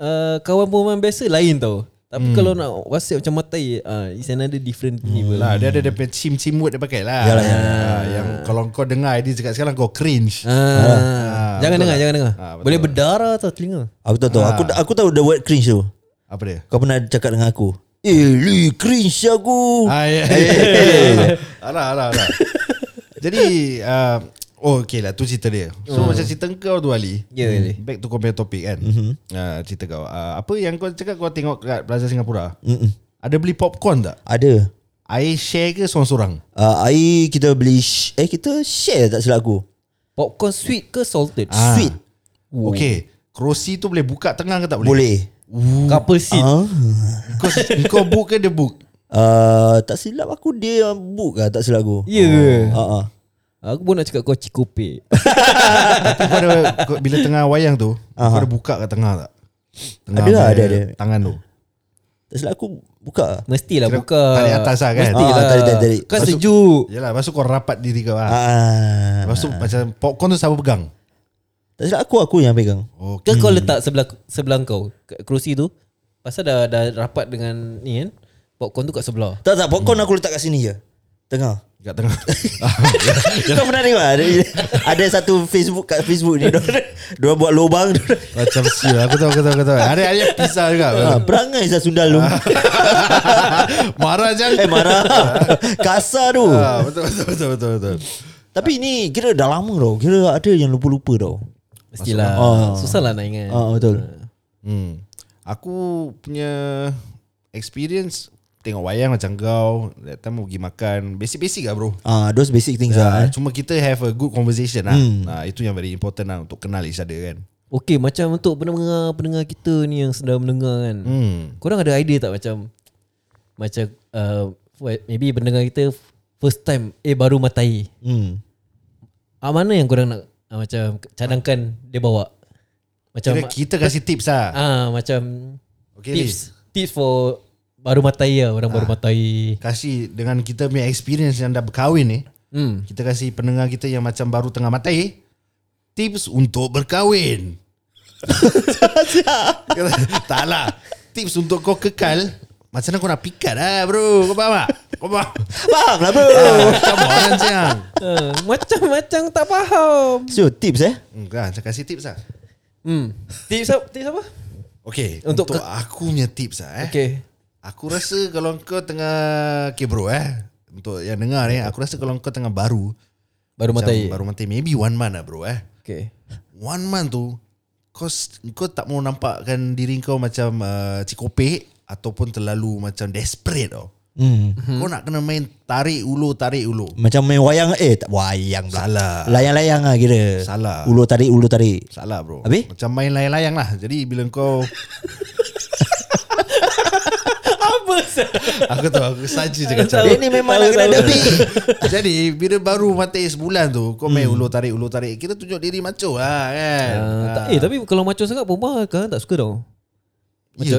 uh, kawan perempuan biasa lain tau. Tapi
Hmm.
kalau nak WhatsApp macam matai ah uh, it's another different level.
lah, Dia ada
Hmm.
dia punya sim-sim word dia pakai lah
Yalah, yalah.
Ah, Yang kalau kau dengar Dia cakap sekarang kau cringe
Ah,
betul
jangan dengar,
lah.
jangan dengar.
Ah, betul
Boleh
lah.
berdarah tau telinga.
Aku tak tahu
Ah.
aku aku tahu the word cringe tu.
Apa dia?
Kau pernah cakap dengan aku. Eh, li cringe aku.
Ah, ya, ya, ya. Alah, alah, alah. Jadi, uh, oh okay lah, tu cerita dia. So macam cerita kau tu Ali.
Hmm. Ya, Mhm. Ali.
Back to kau punya topik kan. Uh, cerita kau. Uh, apa yang kau cakap kau tengok kat Plaza Singapura? Ada beli popcorn tak?
Ada.
Air share ke seorang-seorang?
Uh, air kita beli sh- eh kita share tak silap aku.
Popcorn sweet ke salted?
Ah.
Sweet.
Okay. Kerusi tu boleh buka tengah ke tak boleh?
Boleh.
Couple seat.
Ah.
Kau, kau book ke dia book?
Uh, tak silap aku dia yang book lah tak silap aku.
Ya ke?
Ha ah. ah.
Aku pun nak cakap kau cikope.
Tapi kau ada, kau, bila tengah wayang tu, kau ada buka ke tengah tak? Tengah
Ada lah, ada,
punya
ada.
Tangan tu.
Tak silap aku buka.
Mestilah
Kira
buka.
tarik atas lah kan?
Mestilah.
Ah, tarik, tarik, tarik.
Kan sejuk.
Yelah, lepas tu kau rapat diri kau lah.
Ah.
Lepas tu macam popcorn tu siapa pegang?
Tak silap aku aku yang pegang.
Ke kau letak sebelah sebelah kau kat kerusi tu. Pasal dah dah rapat dengan ni kan. Popcorn tu kat sebelah.
Tak tak popcorn aku letak kat sini je. Tengah.
Kat tengah.
Kau pernah tengok ada, ada satu Facebook kat Facebook ni Diorang diorang buat lubang diorang-
Macam siul. Aku tahu, aku tahu, aku tahu. Ada ada yang pisah juga.
ha, Perangai saya sundal lu
Marah je.
Eh marah Kasar tu
Ah, betul, betul, betul, betul, betul.
Tapi ni kira dah lama tau Kira ada yang lupa-lupa tau
Mestilah.
Ah.
Susah lah nak ingat.
Ah Betul
Hmm. Aku punya experience tengok wayang macam kau. That time pergi makan. Basic-basic lah bro.
Ah, Those basic things
Ah,
lah eh.
cuma kita have a good conversation lah. Ah, itu yang very important lah untuk kenal each other kan.
Okay macam untuk pendengar-pendengar kita ni Yang sedang mendengar kan hmm. Korang ada idea tak macam Macam uh, what- Maybe pendengar kita First time Eh baru matai
Hmm.
ah, Mana yang korang nak ah, Macam cadangkan Dia bawa Macam
Kira kita kasih tips lah
ah Macam
Okay,
Tips Tips for Baru matai lah Orang baru matai
Kasih dengan kita punya experience yang dah berkahwin ni
Hmm
Kita kasih pendengar kita yang macam baru tengah matai Tips untuk berkahwin Tak lah Tips untuk kau kekal Macam mana kau nak pikat lah bro Kau faham tak? Kau faham? Ah,
Faham lah bro.
Macam orang siang
Ah, Macam-macam tak faham
So tips eh.
Hmm, Kan, saya kasih tips lah
Hmm Tips apa? Tips apa?
Okay,
Untuk
untuk, untuk aku punya tips lah eh
Okay
Aku rasa kalau kau tengah Okay bro eh Untuk yang dengar ni Aku rasa kalau kau tengah baru
Baru
macam
matai
Baru matai Maybe one month lah bro eh
Okay
One month tu Kau s- kau tak mau nampakkan diri kau macam uh, Cikopek Ataupun terlalu macam desperate tau
Hmm.
Mhm.
hmm. Kau nak kena main tarik ulu tarik ulu
Macam main wayang eh tak wayang pula.
Salah
Layang-layang lah kira.
Salah.
Ulu tarik, ulu tarik.
Salah bro
Habis?
Macam main layang-layang lah Jadi bila kau
Apa sah?
Aku tahu aku saja cakap macam
Dia ni memang nak kena
Salah,
debi.
Jadi bila baru mati sebulan tu Kau main ulu tarik ulu tarik Kita tunjuk diri maco lah kan
Hmm. Ah, tak, eh tapi kalau macam sangat perempuan kan tak suka tau. Macam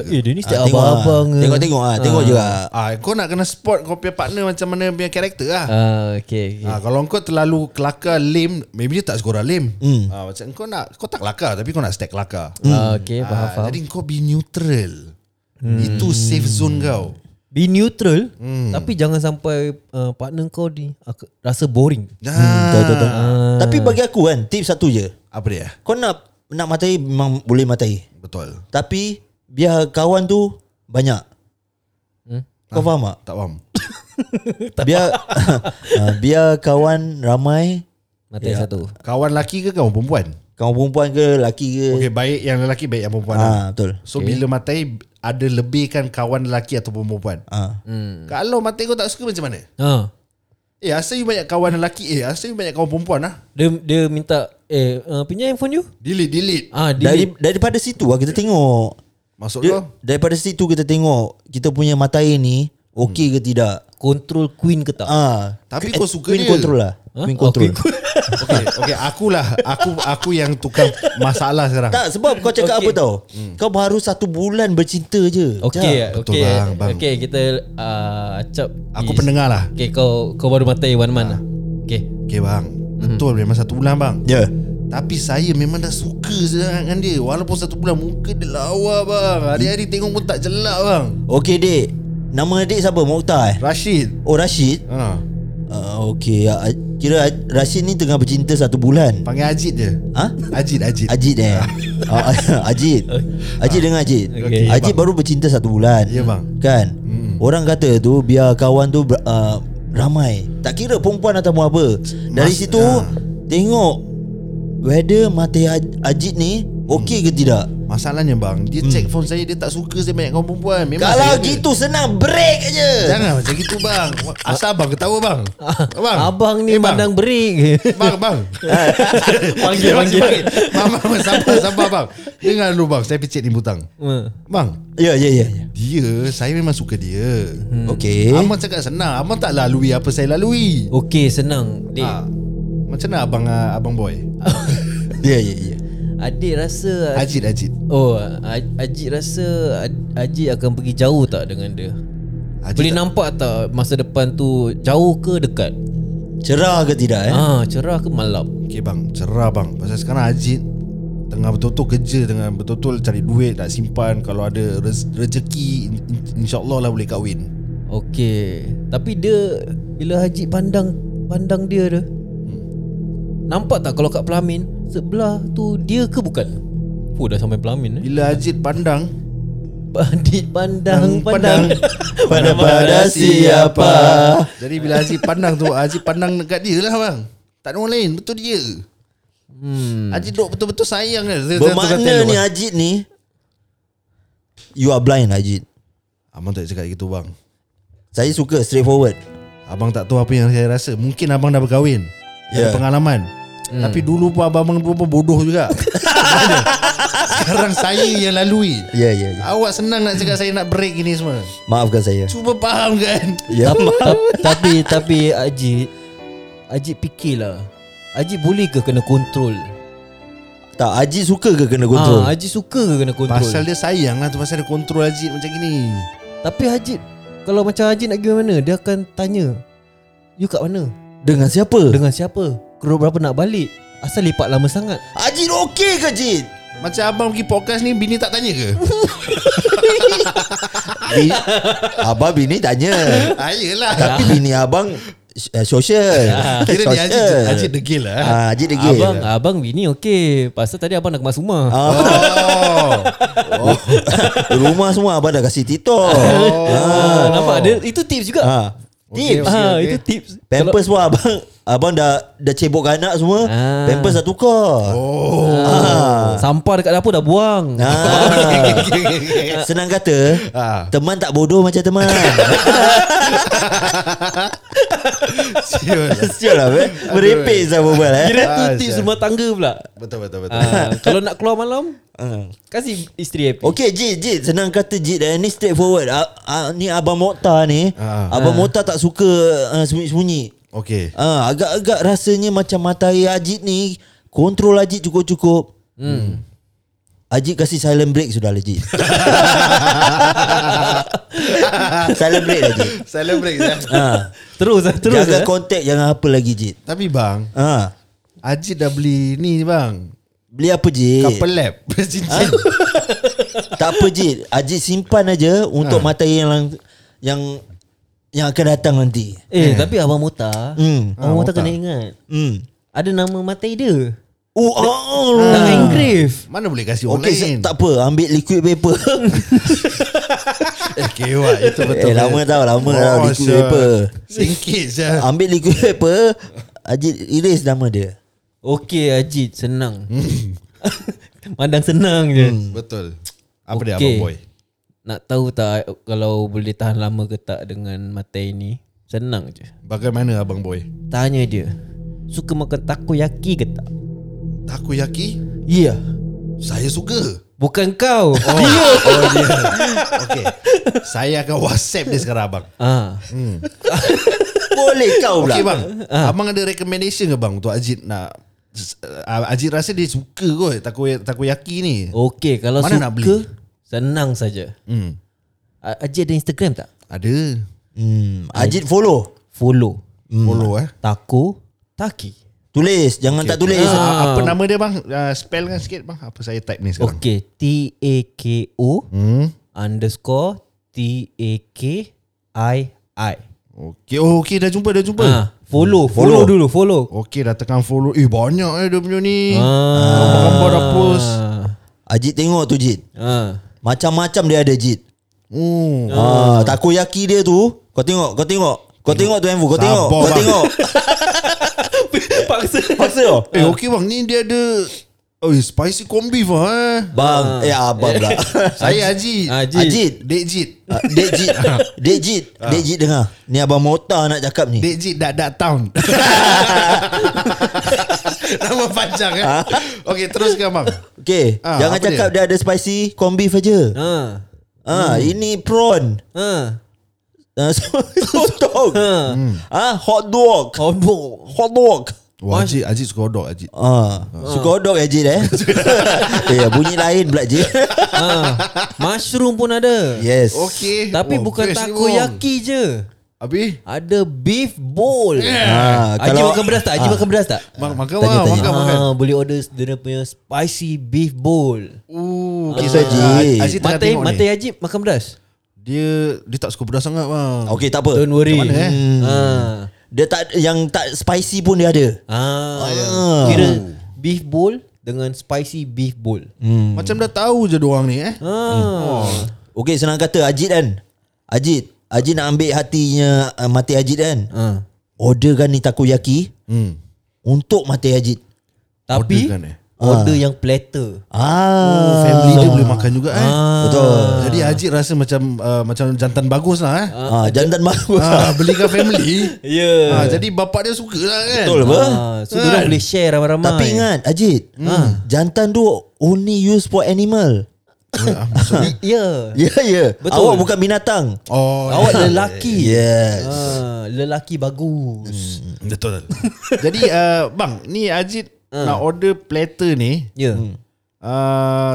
Ya ke?
eh dia ni
Ah,
setiap
tengok lah.
abang-abang. ke.
Tengok-tengok ah, tengok je lah.
Ah, kau nak kena spot kau punya partner macam mana punya karakter lah.
Ah okey okey.
Ah, kalau kau terlalu kelakar lame, maybe dia tak sekolah lame. Mm. Ah, macam kau nak kau tak kelakar tapi kau nak stack kelakar.
Ah okey faham faham.
hmm. jadi kau be neutral. Itu safe zone kau.
Be neutral
Hmm.
tapi jangan sampai uh, partner kau ni ak- rasa boring.
Ah,
Betul, betul, betul. Tapi bagi aku kan tips satu je.
apa dia?
Kau nak nak matai memang boleh matai.
Betul.
Tapi biar kawan tu banyak. Kau faham tak?
Tak faham.
Biar ah, biar kawan ramai,
Mata
Ya.
yeah. satu.
Kawan lelaki ke kawan perempuan?
kawan perempuan ke lelaki ke.
Okey, baik yang lelaki baik yang perempuan. Ah.
Ah betul.
So okay. bila matai ada lebihkan kawan lelaki ataupun perempuan.
Ah.
Hmm. Kalau matai kau tak suka macam mana?
Ha.
Eh, asal you banyak kawan lelaki? Eh, asal you banyak kawan perempuan ah?
Dia dia minta eh uh, pinjam handphone you?
Delete, delete.
Ah
Dari
dia
daripada situ lah kita tengok.
Maksud
Dia,
kau?
daripada situ kita tengok kita punya matai ni okey ke tidak.
control queen ke tak?
Ah,
Tapi
eh,
kau suka
queen
dia.
control lah.
Ha?
Queen control.
Oh, queen-
Okay, okay, akulah aku aku yang tukang masalah sekarang.
Tak sebab kau cakap apa
Okay.
tau? Kau baru satu bulan bercinta je.
Okey,
Betul,
okey.
bang, bang.
Okey, kita uh, acap.
Aku
Is-
pendengar lah.
Okey, kau kau baru matai one month. lah. Okey.
Okay bang, betul memang satu bulan bang.
Ya. Yeah.
Tapi saya memang dah suka sangat dengan dia Walaupun satu bulan muka dia lawa bang Hari-hari tengok pun tak jelak bang
Okey dek. Nama dek siapa? Mokhtar eh?
Rashid
Oh Rashid.
ha,
Uh, okey, ah, kira Rashid ni tengah bercinta satu bulan.
Panggil Ajit je
Ha?
Ajit, Ajit
Ajit eh Ah, Ajit Ajit dengan Ajit
Okey.
Ajit baru bercinta satu bulan
Ya, bang.
Kan Orang kata tu Biar kawan tu ber- uh, Ramai Tak kira perempuan atau apa Dari
Mas-
situ
ah.
Tengok Whether mati Aj- Ajit ni Okey
Hmm.
ke tidak
Masalahnya bang, dia cek phone saya dia tak suka saya banyak kawan perempuan Memang
Kalau
saya ada.
gitu senang break je
Jangan macam gitu bang Asal abang ketawa bang Abang
Ah, Abang ni
Eh, bang.
pandang berik.
Bang, bang.
Panggil, panggil.
Bang, bang, bang, sabar, sabar bang. Dengar dulu bang, saya picit ni butang.
Ha.
Bang,
Ya ya ya ya.
dia, saya memang suka dia.
Okey
Eh? Abang cakap senang, abang tak lalui apa saya lalui.
Okey senang Adik
Ha. Macam mana abang ah, abang boy?
Eh.
Ya ya ya
Ah.
Adik rasa
Ajit, Ajit.
Oh A- Ajit rasa Aj- Ajit akan pergi jauh tak dengan dia
Ajit
Boleh
tak-
nampak tak Masa depan tu Jauh ke dekat
Cerah ke tidak eh
Ah Cerah ke malap
Okay bang, cerah bang. Pasal sekarang Ajit tengah betul-betul kerja dengan betul-betul cari duit nak simpan kalau ada rez- rezeki in- in- insyaallah lah boleh kahwin.
Okey Tapi dia Bila Ajit pandang Pandang dia tu Nampak tak kalau kat pelamin Sebelah tu Dia ke bukan Oh dah sampai pelamin eh
Bila Ajit pandang,
Pandit pandang Pandang
Pada-pada siapa
Jadi bila Aziz pandang tu Aziz pandang dekat dia lah bang Tak ada orang lain Betul dia hmm. Aziz duk betul-betul sayang lah Dia- dia
Bermakna
tengok-
ni Ajit ni You are blind Ajit
Abang tak cakap gitu bang
Saya suka straightforward
Abang tak tahu apa yang saya rasa Mungkin abang dah berkahwin yeah.
Ya.
Ada pengalaman hmm. Tapi dulu pun abang-abang dulu pun bodoh juga Sekarang saya yang lalui
Ya, ya, ya.
Awak senang nak cakap saya nak break ini semua
Maafkan saya
Cuba faham kan
Ya maaf
Ta- tapi tapi Ajit Ajit fikirlah. Ajit boleh ke kena kontrol?
Tak Haji suka ke kena
Kontrol.
kontrol
Ha, Ajit suka ke kena kontrol?
Pasal dia sayang lah tu Pasal dia kontrol Aziz macam gini
Tapi Ajit kalau macam Ajit nak pergi mana, dia akan tanya, "You kat mana?
Dengan siapa
Dengan siapa? Keruk berapa nak balik? Asal lepak lama sangat?"
Haji okey ke Jin
Macam abang pergi podcast ni Bini tak tanya ke?
Bi- Abang bini tanya
ah, Ah. yelah
Tapi bini abang eh, Social
Kira ni Aziz
Social.
Aziz degil lah eh?
Ah, Haji degil
Abang, abang bini okey. Pasal tadi abang nak kemas rumah.
Ah.
Oh Oh.
Rumah semua abang dah kasih TikTok
Ah, nampak dia itu tips juga.
ah.
Okey,
Tips
okey.
ah, itu tips.
Pampers pun abang Abang dah Dah cebokkan anak semua
Ah.
Pampers dah tukar
Oh
ah.
Kalau, sampah dekat dapur dah buang.
Ah. Senang kata
Ah.
Teman tak bodoh macam teman
Siul lah.
Sial lah eh. Merepek saya berbual eh
Kira tu
Ah,
tips
sial.
rumah tangga pula.
Betul betul betul
Ah, kalau nak keluar malam,
Ah.
kasih isteri happy.
Okay Jid, Jid Senang kata Jid eh. Ni straightforward ah, ah, Ni Abang Mokhtar ni
Ah.
Abang Mokhtar tak suka ah, Sembunyi-sembunyi
Okay
ah, Agak-agak rasanya macam mata air Ajit ni Kontrol Ajit cukup-cukup hmm. Ajit kasih silent break sudah lah Jid Silent break lah Jid
Celebrate ya.
ah.
Terus ah, terus.
Jaga
eh?
ah.
kontak jangan apa lagi Jid
Tapi bang
ah.
Ajit dah beli ni bang
Beli apa Jid?
Couple lab Cincin
Ah. Tak apa Jid Ajit simpan aja
Ah.
Untuk mata air yang lang- Yang Yang akan datang nanti
Eh, tapi abang Mota,
Hmm.
Ah, abang Mota kena ingat.
Hmm.
Ada nama matai dia.
Oh, oh,
Nama
oh.
engrave.
Mana boleh kasih orang
Okay,
lain
se- tak apa. Ambil liquid paper.
Eh kewak Itu betul Oh,
eh, lama tau, lama tau liquid
sial.
paper. Ah.
Singkit je
Ambil liquid paper, Ajit erase nama dia.
Okey Ajit, senang. Pandang senang je.
Hmm. Betul Apa dia
Okey.
abang boy
Nak tahu tak kalau boleh tahan lama ke tak dengan matai ni? Senang je.
Bagaimana abang boy
Tanya dia. Suka makan takoyaki ke tak?
Takoyaki
Ya. Yeah.
Saya suka
Bukan kau. Ya.
Oh, oh dia. Okay. Saya akan WhatsApp dia sekarang abang.
Ah.
Boleh kau pula.
Okey bang. Abang ada recommendation ke bang untuk Ajit nak uh, Ajit rasa dia suka kot takoy- takoyaki ni.
Okey, kalau
Mana
suka
nak beli?
senang saja.
Hmm.
A- Ajit ada Instagram tak?
Ada.
Hmm, Ajit follow.
Follow.
Follow eh.
Tako Taki.
Tulis, jangan tak tulis.
Ah,
Ah.
apa nama dia bang? Uh, spell kan sikit bang. Apa saya type ni sekarang?
Okey, T A K O
Hmm.
underscore T A K I I.
Okey. Oh, okey dah jumpa dah jumpa. Hmm.
Ah, follow, follow, follow dulu, follow.
Okey dah tekan follow. Eh banyak eh dia punya ni.
Ah.
Gambar-gambar dah post.
Ah.
Ajit tengok tu Jit.
Ah.
Macam-macam dia ada Jit.
Hmm.
Ah, takoyaki dia tu, kau tengok, kau tengok. Kau tengok tu Enfu, kau tengok,
Sabar,
kau
bang.
tengok.
Paksa.
Paksa oh.
Eh okey bang ni dia ada Oh, spicy kombi beef lah eh.
Bang, eh abang pula.
Saya Haji.
Ajit.
Ajit.
Dek Jit.
Ah, Dek Jit Dek Jit Dek Jit dengar Ni Abang Mota nak cakap ni
Dek Jit Dak Dak Town. Nama panjang eh. Okey, teruskan bang.
Okay
Ah,
Jangan
apa
cakap dia? ada spicy Corn beef aja
Ah.
ah, Ini prawn
Ah.
ah, Sotong ah, Hot dog
Kau dok.
Hot dog
Wah, Ajit, Ajit suka hot dog Ajit.
Ah, suka hot dog eh Jit eh Ya bunyi lain pula Jit
Ah. Mushroom pun ada.
Yes
Okey.
Tapi
Oh,
bukan
best ni,
takoyaki je.
bang. Abi,
Ada beef bowl.
Ah,
Haji
kalau-
makan beras tak? Haji makan beras tak?
bang makan
Tanya,
bang,
tanya.
makan makan.
Ah, boleh order dia punya spicy beef bowl.
Uh,
Kisah Ajit.
Ajit tengah
Matai
tengok ni.
Matai Haji makan beras.
Dia dia tak suka pedas sangat bang.
Okay tak apa
Don't worry.
Macam mana, eh?
Hmm.
Dia tak Yang tak spicy pun dia ada
Ah. Ah, ya. Kira beef bowl dengan spicy beef bowl.
Macam dah tahu je doang ni eh.
Ah.
Okay senang kata Ajit kan Ajit Ajit nak ambil hatinya uh, Mati Ajit kan
Ah.
Orderkan kan ni takoyaki
Hmm.
Untuk mati Ajit
Order
Tapi
kan, eh?
Order yang platter
Ah,
Oh, family dia boleh makan juga eh.
Betul.
Jadi Haji rasa macam uh, macam jantan bagus lah eh.
Ah, jantan bagus.
Ah, belikan family.
Ya yeah.
Ah, jadi bapak dia suka lah kan.
Betul apa?
ah, So diorang boleh share ramai-ramai
Tapi ingat Ajit,
Hmm. Ah.
jantan tu only used for animal.
Ya yeah.
Ah.
Ya yeah, ya. Yeah.
Betul.
Awak bukan binatang.
Oh,
Awak lelaki
Yes.
ah, Lelaki bagus
betul. jadi uh, bang, ni Ajit
Ah.
nak order platter ni
Ya yeah.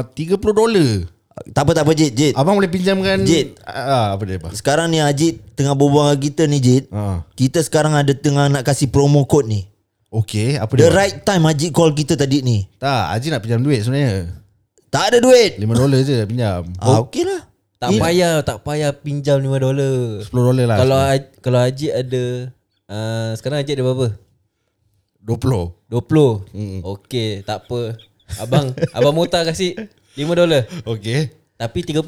uh, 30 dolar.
Tak apa tak apa Jit, Jit.
Abang boleh pinjamkan
Jit.
Ah, apa dia bang?
Sekarang ni Ajit tengah berbual dengan kita ni Jit.
Ah.
Kita sekarang ada tengah nak kasih promo code ni.
Okey, apa
The
dia? bang?
right time Ajit call kita tadi ni.
Tak, Haji nak pinjam duit sebenarnya.
Tak ada duit.
5 dolar je dah pinjam.
Ah, okey lah.
Tak payah Tak payah pinjam 5 dolar
10 dolar lah.
Kalau Aj- kalau Haji ada uh, Sekarang Haji ada berapa?
20.
20 hmm. Okay tak apa Abang Abang Mota kasih 5 dolar
Okey.
Tapi 30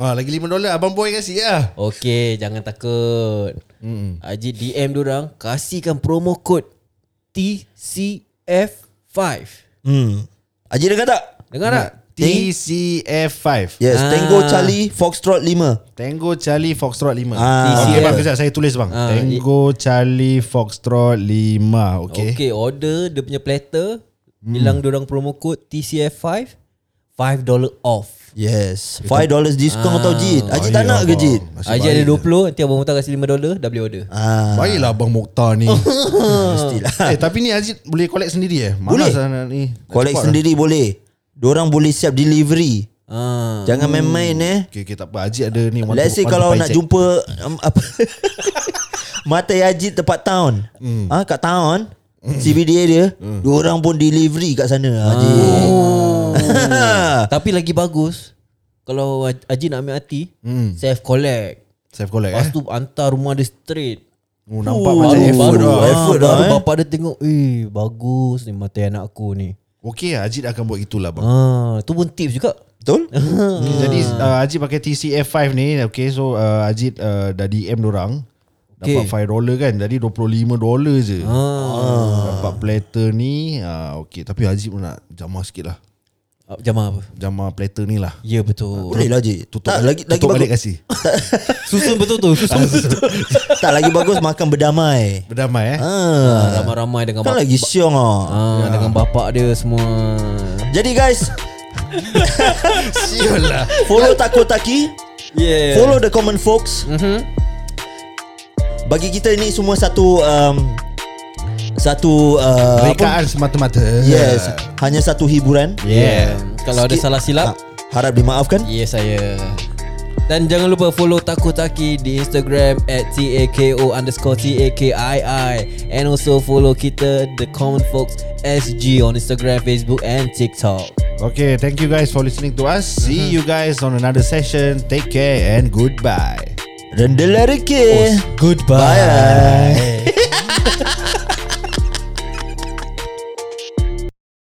Ah, lagi 5 dolar abang boy kasih lah.
Okay jangan takut hmm. Haji DM diorang Kasihkan promo code TCF5
Hmm. Ajit dengar tak?
Dengar tak?
TCF5.
Yes, Tango Charlie Foxtrot 5.
Tango Charlie Foxtrot
Ah.
5. Okey
TCF.
bang, kejap saya tulis bang.
Ah,
Tango Charlie Foxtrot 5. Okey. Mm.
Okay. okay order Dia punya platter hmm. Bilang diorang promo code TCF5 5 dolar off
Yes. $5 diskaun tau Jit. Ajit tak
Baik
nak ke
abang.
Jit?
Nasib
Haji
baik.
ada 20 Nanti abang Mota kasih 5 dolar Dah boleh order
Ah,
Baiklah abang Mokhtar ni.
mestilah.
eh, tapi ni Aziz boleh collect sendiri eh?
Boleh.
Malas lah nak ni. Nak
Collect
cepat
sendiri boleh. Diorang boleh siap delivery.
ah.
Jangan main-main eh.
Lah. Okey, okay, tak apa. Aziz ada ni. one
Let's say
to- one to
kalau
five
nak
check.
jumpa um, apa Matai Haji tempat town. Hmm. Ah ha, kat town CBD dia, hmm. orang pun delivery kat sana Haji.
Ah. Tapi lagi bagus kalau Aj- Haji nak ambil hati, hmm. self collect.
Self collect Mm. eh?
Lepas tu hantar rumah dia straight.
Oh, nampak macam
baru,
effort
baru,
lah.
ah,
effort dah,
baru
eh.
bapak dia tengok, "Eh, bagus ni mata anak aku ni."
Okey lah, Ajit akan buat itulah bang.
Hmm.
Ah, tu pun tips juga.
Betul?
Okay, jadi uh, Ajit pakai TCF5 ni, okay so uh, Ajit uh, dah DM orang Dapat
Okay.
okay. 5 dolar kan, jadi 25 dolar je. Ah. Dapat platter ni, uh, okay tapi Ajit pun nak jamah sikit lah.
Ah, Jamah apa?
Jamah platter ni lah.
Ya betul.
Boleh lah Haji.
Tutup,
tak lagi lagi
tutup balik kan?
bagus.
kasih.
Susun betul tu, susun betul.
tak lagi bagus makan berdamai.
Berdamai eh.
Ah,
Ah, Ramai-ramai dengan
kan
bapak.
lagi syong ah.
Ah, dengan bapak dia semua.
Jadi guys,
Siul lah.
follow Takotaki,
Yeah.
follow the common folks.
Mm-hmm.
Mhm.
Bagi kita ini semua satu um, satu uh, apa?
Rekaan semata-mata.
Yes, hanya satu hiburan.
Yeah. Kalau ada
Sikit-
salah silap,
Ah, harap dimaafkan.
Ya saya Dan jangan lupa follow Takotaki di Instagram At T-A-K-O underscore T-A-K-I-I And also follow kita The Common Folks SG on Instagram, Facebook and TikTok
Okay, thank you guys for listening to us. See you guys on another session. Take care and goodbye.
Rendelah reke.
Goodbye
Bye.